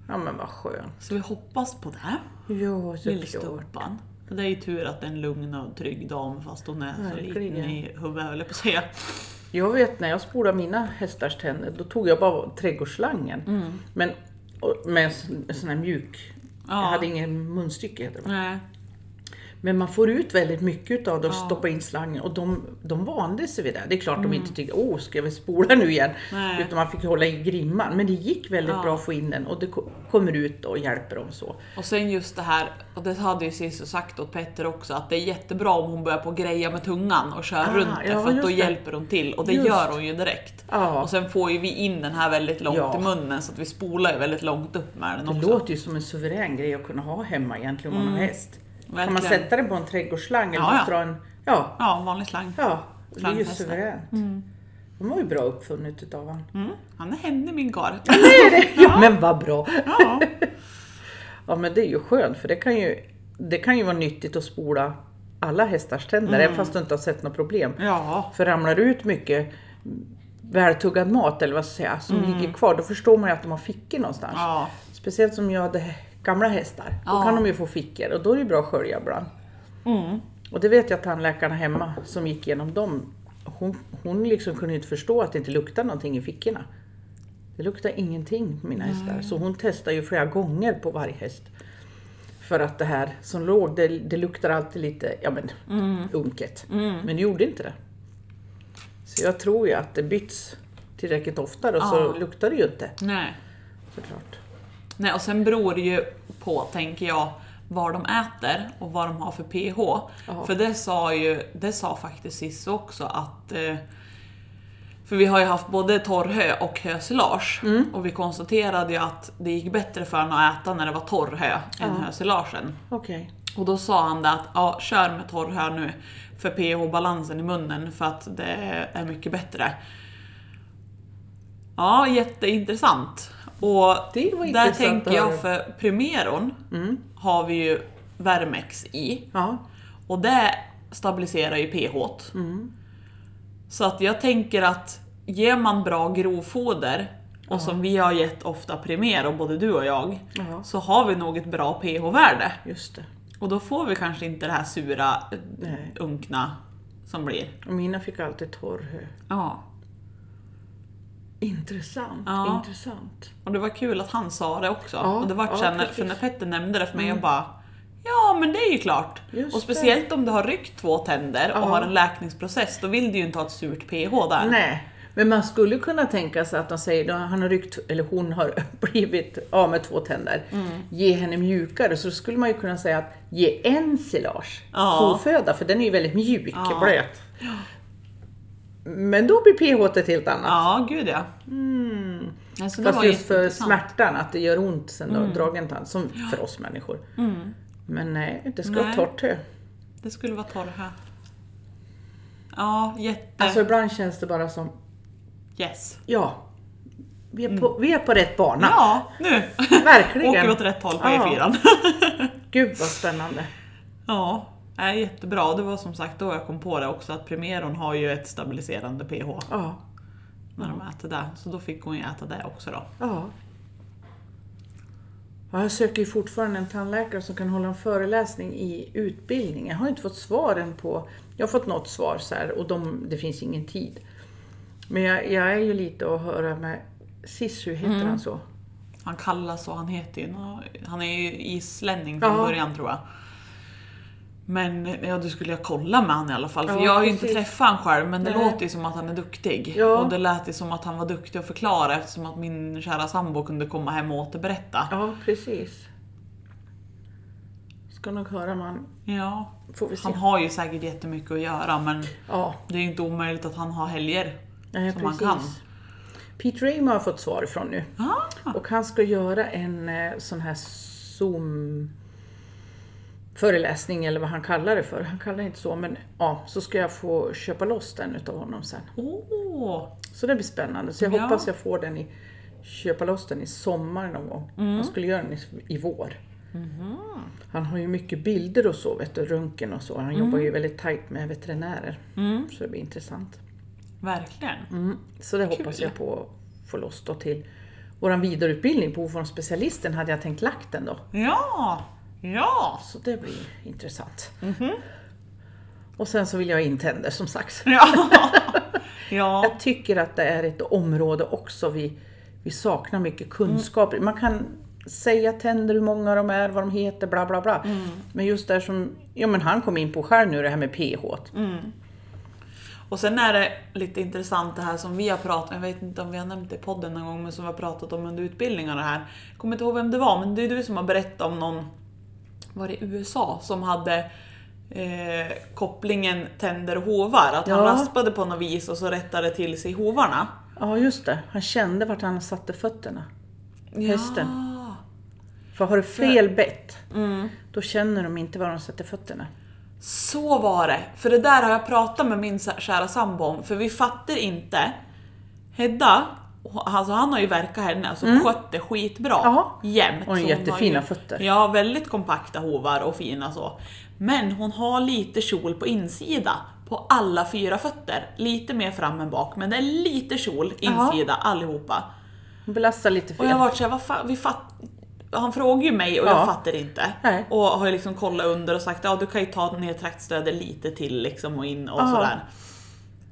A: ja, men vad skönt.
B: Så vi hoppas på det.
A: Ja, såklart.
B: Lillstorpan. Det är ju tur att det är en lugn och trygg dam fast hon är så
A: Verkligen.
B: liten i huvudet höll jag på att säga.
A: Jag vet när jag spolade mina hästars tänder, då tog jag bara trädgårdsslangen.
B: Mm.
A: Men och med en sån- en sån här mjuk, jag
B: Ja.
A: hade ingen munstycke heter det.
B: Nej.
A: Men man får ut väldigt mycket av det och stoppa in slangen och de, de vande sig vid det. Det är klart de inte tyckte, åh ska vi spola nu igen?
B: Mm. Nej.
A: Utan man fick hålla i grimman. Men det gick väldigt bra att få in den och det ko- kommer ut och hjälper dem så.
B: Och sen just det här, och det hade ju Cissi sagt åt Petter också, att det är jättebra om hon börjar på att greja med tungan och kör
A: Ah,
B: runt det
A: ja,
B: för att då
A: just det.
B: hjälper hon till och det
A: Just.
B: gör hon ju direkt.
A: Ja.
B: Och sen får ju vi in den här väldigt långt
A: Ja.
B: i munnen så att vi spolar ju väldigt långt upp med den
A: Det
B: också. Mm.
A: låter ju som en suverän grej att kunna ha hemma egentligen om man har häst. Kan man
B: Verkligen.
A: sätta den på en trädgårdsslang eller
B: Ja, ja.
A: måste dra en... Ja,
B: Ja, en vanlig slang.
A: ja det är ju
B: Slanghästar.
A: suveränt. De var ju bra uppfunnet utav honom.
B: Mm. Han är händig min karl.
A: Ja, men vad bra!
B: Ja.
A: Ja men det är ju skönt för det kan ju, det kan ju vara nyttigt att spola alla hästars tänder även fast du inte har sett något problem.
B: ja.
A: För ramlar det ut mycket vältuggad mat eller vad ska jag säga, som ligger kvar då förstår man ju att de har fickor någonstans.
B: Ja.
A: Speciellt som jag hade gamla hästar. Då
B: Ja. Mm.
A: kan de ju få fickor och då är det ju bra att skölja ibland. Och det vet jag tandläkaren hemma som gick igenom dem, hon, hon liksom kunde ju inte förstå att det inte luktar någonting i fickorna. Det luktar ingenting på mina hästar. Så hon testar ju flera gånger på varje häst. För att det här som låg, det, det luktar alltid lite, ja men,
B: Mm.
A: unket. Men det gjorde inte det. Så jag tror ju att det byts tillräckligt ofta och så
B: Ja.
A: luktar det ju inte
B: Nej.
A: såklart.
B: Nej, och sen beror det ju på, tänker jag, vad de äter och vad de har för pH. För det sa ju, det sa faktiskt Cissi också att eh, för vi har ju haft både torrhö och hösilage och vi konstaterade ju att det gick bättre för henne att äta när det var torrhö än hösilagen.
A: Okej.
B: Och då sa han det att ja, kör med torr här nu för pH-balansen i munnen för att det är mycket bättre. Ja, jätteintressant. Och
A: Det var
B: där
A: intressant
B: tänker
A: att
B: jag
A: höra. Mm.
B: för Primeron har vi ju Vermex i
A: Ja.
B: och det stabiliserar ju pH.
A: Mm.
B: Så att jag tänker att ger man bra grovfoder och som vi har gett ofta Primero, både du och jag,
A: Ja.
B: så har vi nog ett bra pH-värde.
A: Just det.
B: Och då får vi kanske inte det här sura, eh,
A: Nej.
B: unkna som blir.
A: Och mina fick alltid torr hö.
B: Ja.
A: Intressant,
B: Ja.
A: intressant.
B: Och det var kul att han sa det också.
A: Ja,
B: och det var
A: ja,
B: sen, när,
A: precis. Mm.
B: för när Petter nämnde det för mig, jag bara Ja men det är ju klart!
A: Just
B: och speciellt om du har ryckt två tänder och
A: Ja. Mm.
B: har en läkningsprocess, då vill du ju inte ha ett surt pH där.
A: Nej, men man skulle kunna tänka sig att de säger att han har ryckt, eller hon har blivit av med två tänder.
B: Mm.
A: Ge henne mjukare, så skulle man ju kunna säga att ge en silage
B: Ja.
A: koföda, för den är ju väldigt mjuk,
B: Ja.
A: blöt. Men då blir pH ett helt annat.
B: Ja, gud ja. Nej, så det
A: Mm. Fast
B: var
A: just för
B: jätteintressant. Mm.
A: smärtan, att det gör ont sen du har dragit en tand, som för oss människor. Men nej, det ska vara
B: Nej.
A: torrt hö.
B: Det skulle vara torr här. Ja, jätte...
A: Alltså ibland känns det bara som,
B: yes.
A: ja, vi är på, vi är på rätt bana.
B: Mm. Ja, nu!
A: Verkligen.
B: Åker vi åt rätt håll på E
A: Ja.
B: E4.
A: Gud vad spännande.
B: Ja, är jättebra. Det var som sagt då jag kom på det också att Primeron har ju ett stabiliserande pH
A: Ja,
B: när de äter det. Så då fick hon ju äta det också då.
A: ja. ja jag söker ju fortfarande en tandläkare som kan hålla en föreläsning i utbildning. Jag har inte fått svaren på... Jag har fått något svar så här och de, det finns ingen tid. Men jag, jag är ju lite att höra med Sissu, heter
B: Mm.
A: han så?
B: Han kallas och han heter ju nå- Han är ju islänning från
A: Ja.
B: början tror jag. Men ja, du skulle jag kolla med han i alla fall. För
A: Ja,
B: jag har ju inte
A: precis.
B: träffat han själv men det
A: Nej.
B: låter ju som att han är duktig.
A: Ja.
B: Och det lät ju som att han var duktig att förklara eftersom att min kära sambo kunde komma hem och återberätta.
A: Ja, precis. ska nog höra man.
B: Ja.
A: Får vi se.
B: Han har ju säkert jättemycket att göra men
A: Ja,
B: det är ju inte omöjligt att han har helger.
A: nej,
B: som man
A: precis.
B: kan.
A: Pete Raymer har fått svar ifrån nu.
B: Ah,
A: Och han ska göra en eh, sån här Zoom föreläsning eller vad han kallar det för. Han kallar det inte så men ja, så ska jag få köpa loss den utav honom sen.
B: åh!
A: Så det blir spännande. Så jag
B: Ja.
A: hoppas jag får den i, köpa loss den i sommar någon gång.
B: Mm.
A: Han skulle göra den i, i vår.
B: Mm-hmm.
A: Han har ju mycket bilder och så, vet du, röntgen och så. Han jobbar ju väldigt tajt med veterinärer.
B: Mm,
A: Så det blir intressant.
B: verkligen.
A: Mm. Så det hoppas
B: Kul.
A: jag på att få loss då till våran vidareutbildning på specialisten hade jag tänkt lagt den då.
B: Ja! Ja!
A: Så det blir intressant. Och sen så vill jag ha in tänder som sagt.
B: Ja! ja.
A: Jag tycker att det är ett område också vi, vi saknar mycket kunskap i. Man kan säga tänder, hur många de är, vad de heter, bla bla bla. Men just där som ja, men han kom in på själv nu, det här med pH.
B: Och sen är det lite intressant det här som vi har pratat om, jag vet inte om vi har nämnt det i podden någon gång, men som vi har pratat om under utbildningarna här. Jag kommer inte ihåg vem det var, men det är du som har berättat om någon, var det i USA, som hade eh, kopplingen tänder och hovar. Att han
A: Ja.
B: raspade på något vis och så rättade till sig hovarna.
A: Ja just det, han kände vart han satte fötterna. Hästen.
B: Ja.
A: För har du fel bett,
B: Mm.
A: då känner de inte var de sätter fötterna.
B: Så var det! För det där har jag pratat med min sa- kära sambo om, för vi fattar inte. Hedda, h- alltså han har ju verkat henne, alltså skött det skitbra.
A: Ja.
B: Jämt.
A: Mm. Och en
B: Så hon har
A: jättefina fötter.
B: Ja, väldigt kompakta hovar och fina så. Men hon har lite kjol på insida på alla fyra fötter. Lite mer fram än bak, men det är lite kjol
A: Ja.
B: insida allihopa.
A: Hon belastar lite
B: Och jag
A: fel.
B: har varit såhär, vad fan, vi fatt... Han frågar ju mig och jag
A: Ja.
B: fattar inte.
A: Nej.
B: Och har ju liksom kollat under och sagt, ja du kan ju ta ner traktstödet lite till liksom och in och
A: Ja.
B: sådär.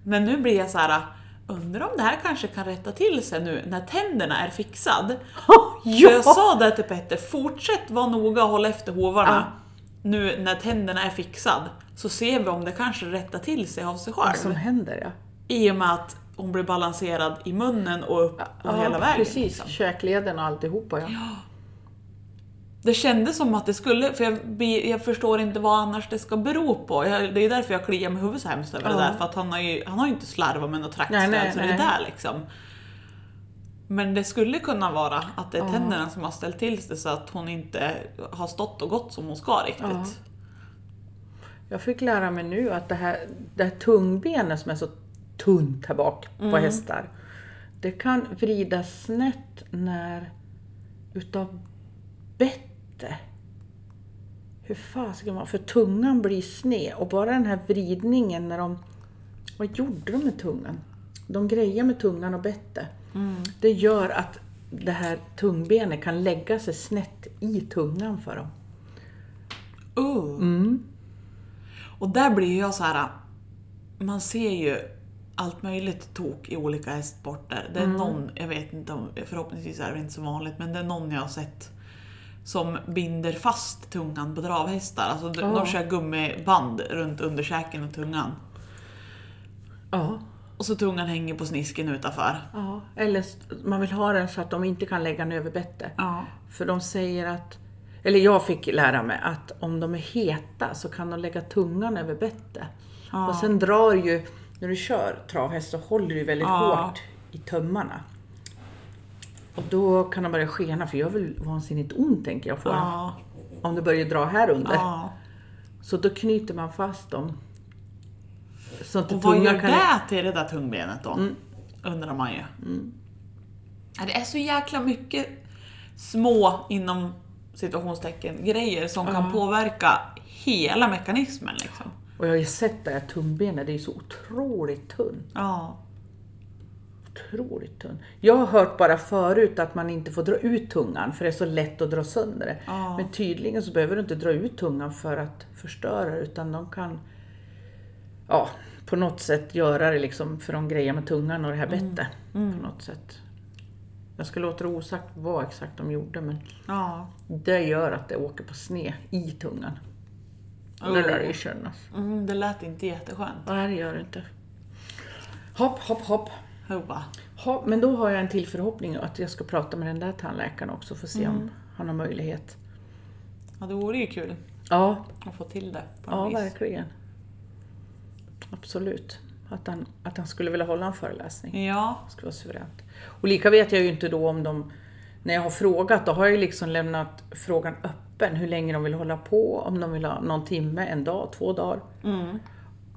B: Men nu blir jag så här. undrar om det här kanske kan rätta till sig nu när tänderna är fixad.
A: Ja.
B: För jag sa det till Petter, fortsätt vara noga och hålla efter hovarna. Nu när tänderna är fixad så ser vi om det kanske rättar till sig av sig
A: Vad som
B: själv.
A: händer ja.
B: I och med att hon blir balanserad i munnen och upp och hela vägen.
A: precis.
B: liksom.
A: Käkleden och alltihopa ja.
B: Det kändes som att det skulle, för jag, blir- jag förstår inte vad annars det ska bero på. Jag, det är därför jag kliar mig huvudet så hemskt över det
A: Ja.
B: där, för att han har ju, han har ju inte slarvat med något
A: Nej,
B: traktstöd
A: nej,
B: så det är
A: nej.
B: där liksom. Men det skulle kunna vara att det är
A: Ja.
B: tänderna som har ställt till det så att hon inte har stått och gått som hon ska riktigt.
A: Ja. Jag fick lära mig nu att det här, det här tungbenet som är så tunt här bak på hästar. Det kan vridas snett när utav bette. Hur fan ska man... För tungan blir sned och bara den här vridningen när de... Vad gjorde de med tungan? De grejer med tungan och bette. Det gör att det här tungbenet kan lägga sig snett i tungan för dem.
B: Uh. Och där blir jag så här. man ser ju allt möjligt tok i olika hästsporter. Det är någon, jag vet inte om, förhoppningsvis är det inte så vanligt, men det är någon jag har sett som binder fast tungan på travhästar. Alltså de, de
A: Ja.
B: kör gummiband runt underkäken och tungan.
A: Ja.
B: Och så tungan hänger på snisken utanför.
A: Ja, eller s- man vill ha den så att de inte kan lägga den över bettet.
B: Ja.
A: För de säger att, eller jag fick lära mig att om de är heta så kan de lägga tungan över bettet.
B: Ja.
A: Och sen drar ju, när du kör travhäst så håller du väldigt
B: Ja.
A: hårt i tömmarna. Och då kan de börja skena, för jag vill vansinnigt ont tänker jag får
B: Ja.
A: Om det börjar dra här under.
B: ja.
A: Så då knyter man fast dem. Så att
B: Och vad gör
A: tungan kan...
B: det till det där tungbenet då? Undrar man ju. Ja, Det är så jäkla mycket små, inom situationstecken, grejer som kan påverka hela mekanismen. Liksom.
A: Och jag har ju sett det här tungbenet, det är ju så otroligt tunt.
B: Ja.
A: otroligt tunn. Jag har hört bara förut att man inte får dra ut tungan för det är så lätt att dra sönder det.
B: Ja.
A: Men tydligen så behöver du inte dra ut tungan för att förstöra det, utan de kan ja, på något sätt göra det liksom för de grejer med tungan och det här bettet. På något sätt. Jag ska låta det osagt vad exakt de gjorde men
B: ja.
A: det gör att det åker på sned i tungan. Och det lär ju kännas.
B: Mm, det lät inte jätteskönt.
A: alltså. Nej det gör det inte. Hopp, hopp, hopp.
B: Hubba.
A: Ja, men då har jag en till förhoppning att jag ska prata med den där tandläkaren också för att se om han har möjlighet.
B: Ja, det vore ju kul.
A: Ja,
B: och få till det på
A: ja
B: något vis.
A: verkligen. Absolut. Att han, att han skulle vilja hålla en föreläsning.
B: Ja,
A: skulle vara suveränt. Och lika vet jag ju inte då om de, när jag har frågat, då har jag ju liksom lämnat frågan öppen hur länge de vill hålla på, om de vill ha någon timme, en dag, två dagar.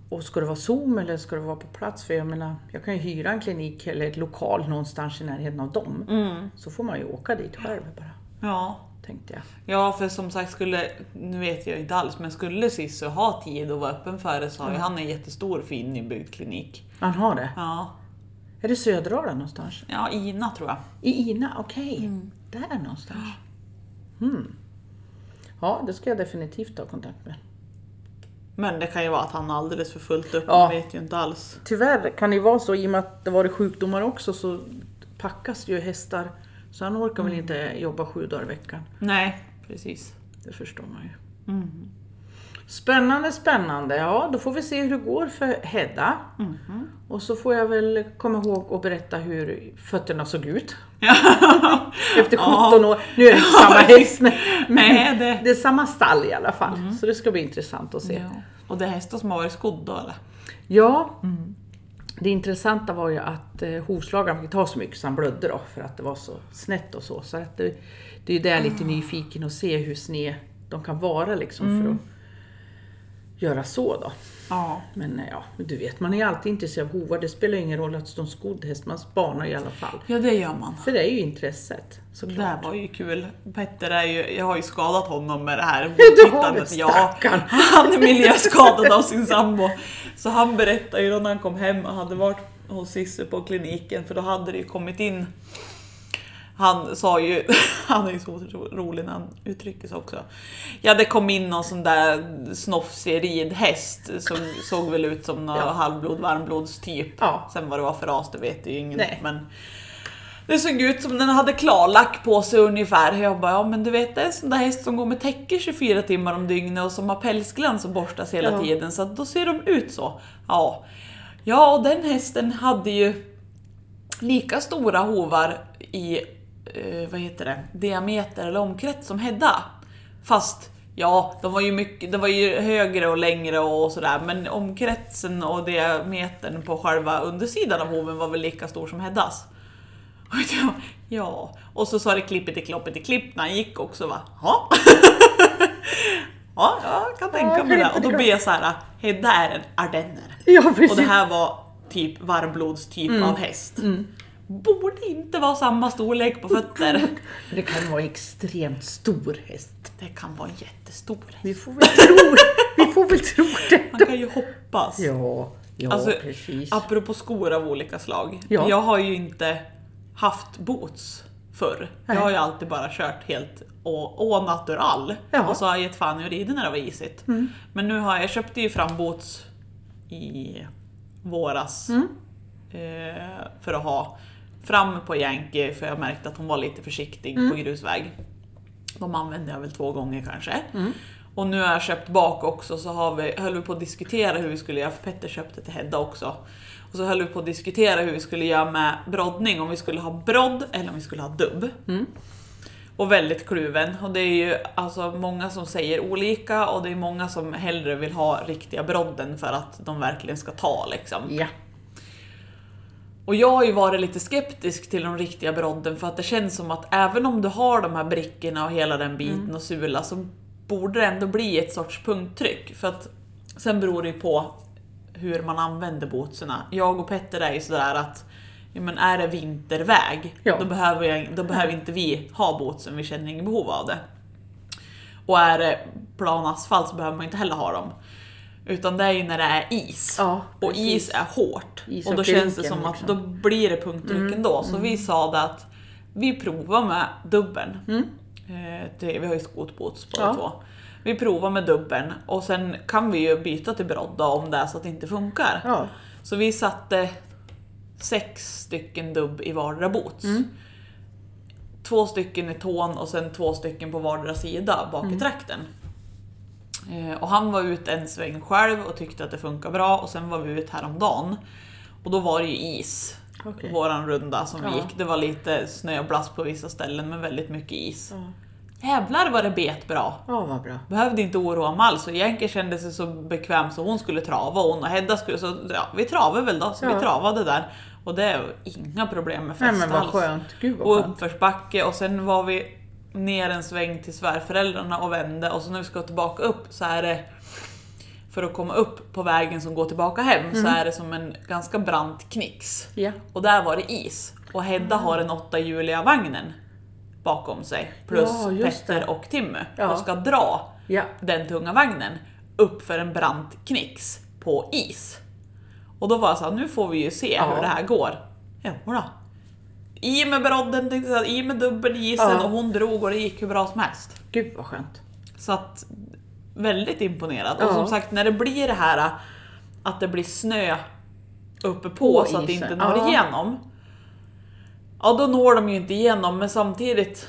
A: Och ska det vara Zoom eller ska det vara på plats? För jag menar, jag kan ju hyra en klinik eller ett lokal någonstans i närheten av dem. Så får man ju åka dit själv bara,
B: ja.
A: tänkte jag.
B: Ja, för som sagt skulle, nu vet jag inte alls, men skulle Sisu ha tid och vara öppen för det så har ju han en jättestor fin nybyggd klinik.
A: Han har det.
B: Ja,
A: Är det Söderdala någonstans?
B: ja Ina tror jag.
A: I Ina, okej. Där någonstans. Hmm. Ja, det ska jag definitivt ta kontakt med.
B: Men det kan ju vara att han har alldeles för fullt upp,
A: Ja.
B: man vet ju inte alls.
A: Tyvärr kan det ju vara så, i och med att det varit sjukdomar också så packas ju hästar. Så han orkar
B: Mm.
A: väl inte jobba sju dagar i veckan.
B: Nej, precis.
A: Det förstår man ju.
B: Mm.
A: Spännande, spännande. Ja, då får vi se hur det går för Hedda.
B: Mm-hmm.
A: Och så får jag väl komma ihåg att berätta hur fötterna såg ut. Efter 17 år. Nu är det inte samma häst. men-
B: Nej, det... Mm.
A: Det är samma stall i alla fall. Så det ska bli intressant att se.
B: Ja. Och det är hästar som har varit skodd då eller?
A: Ja, det intressanta var ju att eh, hovslagaren fick ta så mycket så han blödde då för att det var så snett och så. så att det, det är ju där jag är lite nyfiken och se hur sned de kan vara liksom för att göra så då.
B: Ja.
A: Men eh, ja, du vet, man är ju alltid intresserad av hovar. Det spelar ju ingen roll att de är skodd häst, man spanar i alla fall.
B: Ja, det gör man.
A: För det är ju intresset
B: Det
A: såklart.
B: där var ju kul. Petter är ju, jag har ju skadat honom med det här
A: Du har det,
B: tittandet. Ja,
A: stackarn.
B: han är miljöskadad av sin sambo. Så han berättade ju då när han kom hem och hade varit hos Cissi på kliniken för då hade det ju kommit in han sa ju, han är ju så otro- rolig när han uttrycker sig också. Ja det kom in någon sån där snofsig ridhäst som såg väl ut som någon
A: Ja.
B: halvblod varmblodstyp.
A: Ja.
B: Sen vad det var för ras det vet ju ingen.
A: Nej.
B: Men det såg ut som den hade klarlack på sig ungefär. Jag bara, ja men du vet det är en sån där häst som går med täcke 24 timmar om dygnet och som har pälsglans och borstas hela
A: Ja.
B: tiden. Så att då ser de ut så. Ja. ja, och den hästen hade ju lika stora hovar i eh, vad heter det, diameter eller omkrets som Hedda. Fast ja, de var ju, mycket, de var ju högre och längre och sådär men omkretsen och diametern på själva undersidan av hoven var väl lika stor som Heddas. Och jag, ja, och så sa det klippet i kloppet i klipp när han gick också va. Ja, ja jag kan tänka mig det. Och då blir jag så här, Hedda är en ardenner.
A: Ja,
B: Och
A: precis.
B: det här var typ varmblodstyp av häst. Borde inte vara samma storlek på fötter.
A: det kan vara en extremt stor häst.
B: Det kan vara en jättestor häst.
A: Vi får väl tro, vi får väl tro det.
B: Man kan ju hoppas.
A: Ja, ja
B: Alltså,
A: precis.
B: apropå skor av olika slag.
A: Ja.
B: Jag har ju inte haft boots förr.
A: Nej.
B: Jag har ju alltid bara kört helt och, och natural.
A: Ja. Mm.
B: Och så har jag gett fan i att rida när det var isigt. Men nu har jag, jag köpte ju fram boots i våras.
A: Mm.
B: Eh, för att ha fram på Yankee för jag märkte att hon var lite försiktig
A: Mm.
B: på grusväg. De använde jag väl två gånger kanske. Och nu har jag köpt bak också så har vi, höll vi på att diskutera hur vi skulle göra, för Petter köpte till Hedda också. Och så höll vi på att diskutera hur vi skulle göra med broddning, om vi skulle ha brodd eller om vi skulle ha dubb. Och väldigt kluven. Och det är ju alltså många som säger olika och det är många som hellre vill ha riktiga brodden för att de verkligen ska ta liksom.
A: Ja.
B: Och jag har ju varit lite skeptisk till de riktiga brodden för att det känns som att även om du har de här brickorna och hela den biten
A: Mm.
B: och sula så borde det ändå bli ett sorts punkttryck. För att sen beror det ju på hur man använder bootsarna. Jag och Petter är ju sådär att ja, men är det vinterväg
A: Ja.
B: då, behöver jag, då behöver inte vi ha bootsen, vi känner inget behov av det. Och är det plan asfalt så behöver man inte heller ha dem. Utan det är ju när det är is.
A: Ja,
B: och
A: precis.
B: is är hårt.
A: Is
B: och
A: och
B: då känns det
A: kliken,
B: som att
A: liksom. Mm.
B: då blir det punkttryck ändå. Så vi sa det att vi provar med dubben. Eh, det, vi har ju skotboots båda
A: Mm. Ja.
B: två. Vi provar med dubben och sen kan vi ju byta till brodd då om det är så att det inte funkar.
A: Ja.
B: Så vi satte sex stycken dubb i vardera boots.
A: Mm.
B: Två stycken i tån och sen två stycken på vardera sida bak
A: Mm.
B: i trakten. Eh, Och han var ut en sväng själv och tyckte att det funkar bra och sen var vi ut häromdagen. Och då var det ju is.
A: Okej.
B: Våran runda som vi
A: Ja.
B: gick. Det var lite snö och blask på vissa ställen men väldigt mycket is.
A: Ja.
B: jävlar vad det bet bra.
A: Ja, vad bra.
B: Behövde inte oroa mig alls och Jenke kände sig så bekväm så hon skulle trava och hon och Hedda skulle, så ja, vi travade väl då, så
A: Ja.
B: vi travade där. Och det är inga problem med
A: Nej
B: fest
A: men vad
B: alls.
A: skönt. Gud vad
B: Och
A: skönt.
B: uppförsbacke och sen var vi ner en sväng till svärföräldrarna och vände och så när vi ska tillbaka upp så är det för att komma upp på vägen som går tillbaka hem
A: Mm.
B: så är det som en ganska brant knix.
A: Ja.
B: Och där var det is. Och Hedda har den åttahjuliga vagnen bakom sig. Plus
A: Ja, just det.
B: Petter och Timmy.
A: Ja.
B: Och ska dra
A: Ja.
B: den tunga vagnen upp för en brant knix på is. Och då var jag såhär, nu får vi ju se
A: Ja.
B: hur det här går. Jodå. I med brodden, tänkte jag, i med dubbelisen
A: Ja.
B: och hon drog och det gick hur bra som helst.
A: Gud vad skönt.
B: Så att, väldigt imponerad.
A: Ja.
B: Och som sagt, när det blir det här äh, att det blir snö uppe på
A: På
B: så att det inte
A: isen,
B: når
A: ja.
B: igenom. Ja, då når de ju inte igenom, men samtidigt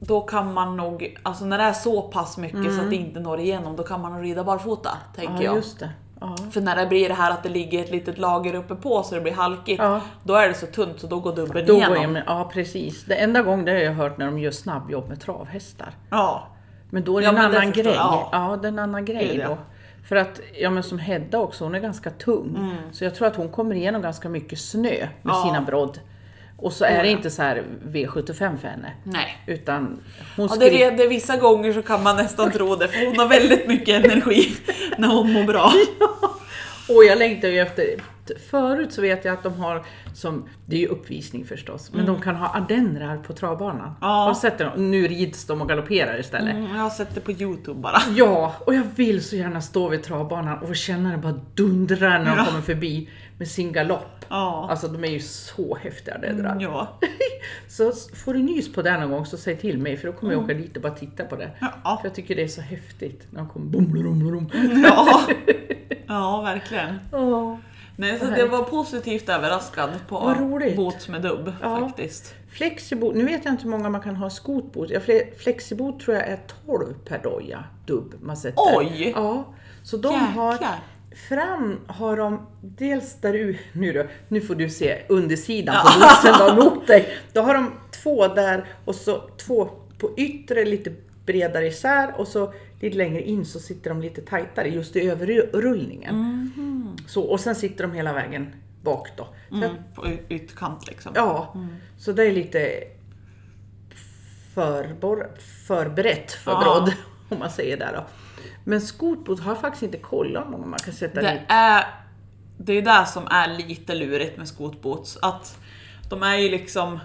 B: då kan man nog, alltså när det är så pass mycket så att det inte når igenom, då kan man nog rida barfota, tänker
A: Mm. Ja,
B: jag.
A: just det. Ja.
B: För när det blir det här att det ligger ett litet lager uppe på så det blir halkigt,
A: Ja.
B: då är det så tunt så då går dubben
A: Då
B: igenom.
A: går jag med, ja precis. Det enda gången det har jag hört när de gör snabbjobb med travhästar.
B: Ja.
A: Men då är det
B: Ja,
A: en
B: men det
A: annan
B: förstår
A: grej.
B: jag.
A: Ja.
B: Ja.
A: det är en annan
B: Gud,
A: grej
B: ja.
A: då. För att, ja men som Hedda också, hon är ganska tung. Så jag tror att hon kommer igenom ganska mycket snö med
B: Mm. Ja.
A: sina brodd. Och så är det inte så här V75 för henne.
B: Nej.
A: Utan hon
B: Ja, det,
A: skri-
B: är, det är vissa gånger så kan man nästan tro det för hon har väldigt mycket energi när hon mår bra.
A: Och jag längtar ju efter, förut så vet jag att de har, som, det är ju uppvisning förstås, men de kan ha adendrar på travbanan.
B: Mm. Ja.
A: Har du sett det? Nu rids de och galopperar istället.
B: Mm, jag har sett det på Youtube bara.
A: Ja, och jag vill så gärna stå vid travbanan och känna det bara dundra när de
B: Ja.
A: kommer förbi med sin galopp.
B: Ja.
A: Alltså de är ju så häftiga adendrar.
B: Mm, ja.
A: Så s- får du nys på det någon gång så säg till mig för då kommer jag åka dit och bara titta på det.
B: Mm. Ja. Mm.
A: För jag tycker det är så häftigt när de kommer bom, blom, blom.
B: Ja. ja, verkligen.
A: Ja.
B: Nej, så
A: Vad
B: det var positivt överraskad på
A: Vad roligt.
B: Bots med dubb
A: Ja.
B: faktiskt.
A: Flexibot, nu vet jag inte hur många man kan ha i skotbot. Ja, fle- Flexibot tror jag är 12 per doja, dubb man sätter.
B: Oj!
A: Ja, så de har
B: Jäklar.
A: Fram har de dels där u- nu då, nu får du se undersidan på bussen då mot dig. Då har de två där och så två på yttre lite bredare isär och så lite längre in så sitter de lite tajtare just i överrullningen.
B: Mhm.
A: Så, och sen sitter de hela vägen bak då. Så att,
B: Mm, på y- ytterkant liksom.
A: ja, så det är lite förbor, förberett för
B: Ja.
A: brodd om man säger där då. Men skotbot har jag faktiskt inte kollat om man kan sätta dit
B: Det är det är det som är lite lurigt med skotboots. Att de är ju liksom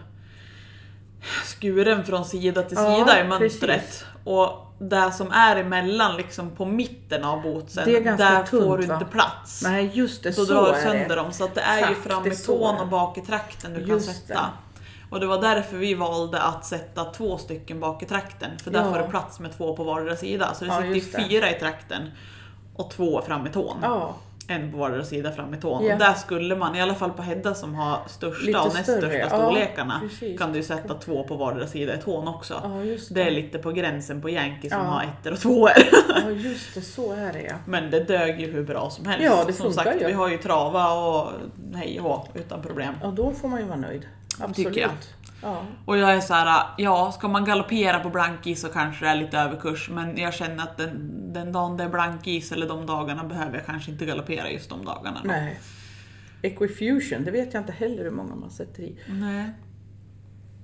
B: skuren från sida till
A: Ja,
B: sida i mönstret.
A: precis.
B: Och det som är emellan liksom på mitten av bootsen,
A: Det är ganska
B: där får
A: tunt,
B: du inte
A: va?
B: plats.
A: Nej just det,
B: så,
A: så
B: drar du
A: är
B: sönder
A: det.
B: dem. Så att det är ju
A: Exakt,
B: fram
A: det är
B: i
A: så
B: tån
A: det är.
B: och bak i trakten du kan
A: Just
B: sätta.
A: det.
B: Och det var därför vi valde att sätta två stycken bak i trakten. För där
A: Ja.
B: får du plats med två på vardera sida. Så det
A: Ja,
B: sitter ju
A: just det.
B: fyra i trakten och två fram i tån.
A: Ja,
B: En på vardera sida fram i tån.
A: Ja.
B: Och där skulle man, i alla fall på Hedda som har största
A: Lite
B: och näst
A: större,
B: största
A: ja,
B: storlekarna,
A: precis.
B: kan du sätta två på vardera sida i tån också.
A: ja, just
B: Det
A: det.
B: är lite på gränsen på Yankee som
A: Ja.
B: har ettor och tvåor.
A: Ja, just det, så är det ja.
B: Men det dög ju hur bra som helst.
A: Ja, det
B: som
A: funkar
B: sagt,
A: ju.
B: vi har ju trava och hej och hå, utan problem.
A: Ja, då får man ju vara nöjd. Absolut.
B: Tycker jag.
A: Ja.
B: Och jag är så här, ja ska man galoppera på blankis så kanske det är lite överkurs men jag känner att den, den dagen det är blankis eller de dagarna behöver jag kanske inte galoppera just de dagarna. då.
A: Nej. Equifusion, det vet jag inte heller hur många man sätter i.
B: Nej.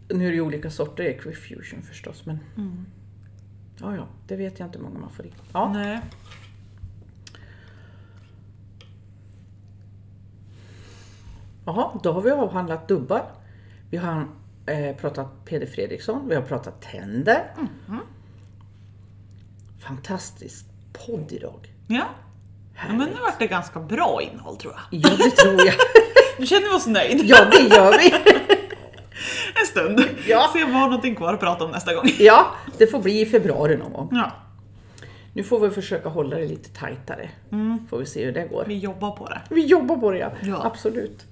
A: Nu är det ju olika sorter Equifusion förstås, men ja, ja, det vet jag inte hur många man får i. Ja.
B: Nej.
A: Jaha, då har vi avhandlat dubbar. Vi har eh, pratat Peder Fredriksson, vi har pratat tänder. Fantastisk podd idag.
B: Ja. ja, men
A: Härligt.
B: nu vart det ganska bra innehåll tror jag.
A: Ja, det tror jag.
B: Nu känner vi oss nöjd
A: Ja, det gör vi.
B: en stund.
A: Ja.
B: Se om vi har någonting kvar att prata om nästa gång.
A: Ja, det får bli i februari någon gång.
B: Ja,
A: Nu får vi försöka hålla det lite tajtare. Får vi se hur det går.
B: vi jobbar på det.
A: Vi jobbar på det, ja.
B: Ja.
A: Absolut.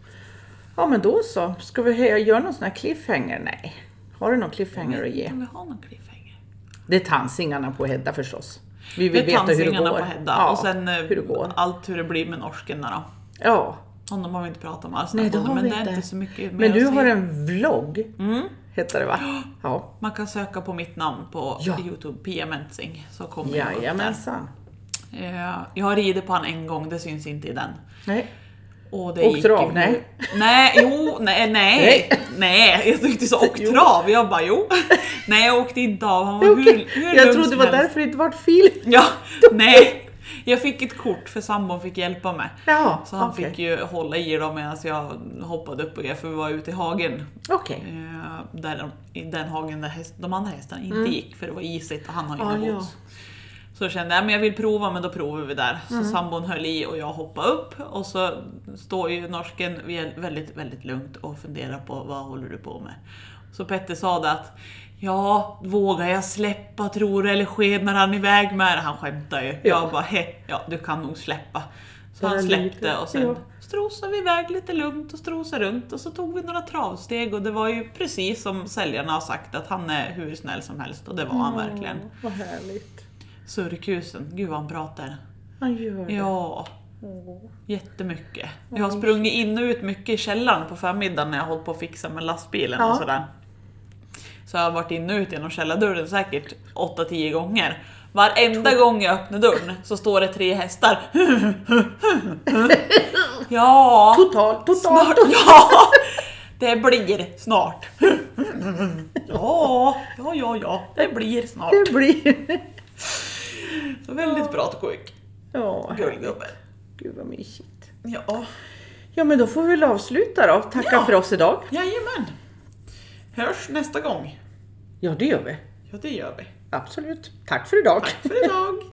A: Ja, men då så. Ska vi hö- göra någon sån här cliffhanger? Nej. Har du någon cliffhanger att ge?
B: Om vi har någon cliffhanger.
A: Det är tandsingarna på Hedda förstås. Vi
B: Det
A: vill
B: är
A: veta hur det går.
B: tandsingarna på Hedda
A: Ja,
B: och sen eh,
A: hur det går.
B: allt hur det blir med norsken då.
A: Ja.
B: Honom har vi inte pratat om alls.
A: Nej, det
B: men
A: har vi
B: det är
A: inte.
B: inte så mycket mer
A: Men du
B: att
A: har
B: säga.
A: en vlogg.
B: Mm.
A: hette det va? Ja.
B: Man kan söka på mitt namn på
A: Ja.
B: Youtube, Pia Mensing, så kommer jag upp där.
A: Jajamensan.
B: Eh, Jag har ridit på han en gång, det syns inte i den.
A: Nej.
B: Och det
A: Och
B: gick
A: trav,
B: ju-
A: nej.
B: Nej, jo, nej, nej.
A: Nej.
B: Nej, jag tyckte så och
A: Jo.
B: trav. Jag bara jo. Nej, jag åkte inte av. Han var hur,
A: Okej.
B: hur lugn
A: Jag trodde det
B: som
A: var
B: helst.
A: därför det inte vart film.
B: Ja, nej. Jag fick ett kort för sambon fick hjälpa mig.
A: Ja,
B: Så han
A: okej.
B: fick ju hålla i dem medan jag hoppade upp och ner för vi var ute i hagen.
A: Okej.
B: Eh, där de, I den hagen där häst, de andra hästarna inte gick för det var isigt och han har ju
A: Mm. Ah,
B: inga
A: ja.
B: gods. Så jag kände jag men jag vill prova men då provar vi där.
A: Mm.
B: Så sambon höll i och jag hoppade upp och så står ju norsken väl- väldigt, väldigt lugnt och funderar på vad håller du på med. Så Petter sa det att Ja, vågar jag släppa tror du eller skednar han iväg med det? Han skämtar ju. Jag bara, he, ja du kan nog släppa. Så
A: Bara
B: han släppte
A: lite,
B: och sen
A: ja.
B: strosade vi iväg lite lugnt och strosade runt och så tog vi några travsteg och det var ju precis som säljarna har sagt att han är hur snäll som helst och det var han verkligen.
A: Åh, Vad härligt.
B: Surkusen, gud vad han pratar.
A: Han gör det.
B: Ja, jättemycket. Jag har sprungit in och ut mycket i källaren på förmiddagen när jag har hållit på att fixa med lastbilen
A: Ja.
B: och sådär. Så jag har varit in och ut genom källardörren säkert 8-10 gånger. Varenda gång jag öppnar dörren så står det tre hästar. Ja,
A: Totalt, totalt.
B: snart. Ja, det blir snart. Ja, ja, ja, ja, det blir snart.
A: Det blir...
B: Så väldigt bra quick.
A: Ja,
B: Guldgubbe.
A: gud vad mysigt.
B: Ja.
A: Ja, men då får vi väl avsluta då. Tacka
B: Ja.
A: för oss idag.
B: Jajamän! Hörs nästa gång.
A: Ja, det gör vi.
B: Ja, det gör vi.
A: Absolut. Tack för idag.
B: Tack för idag!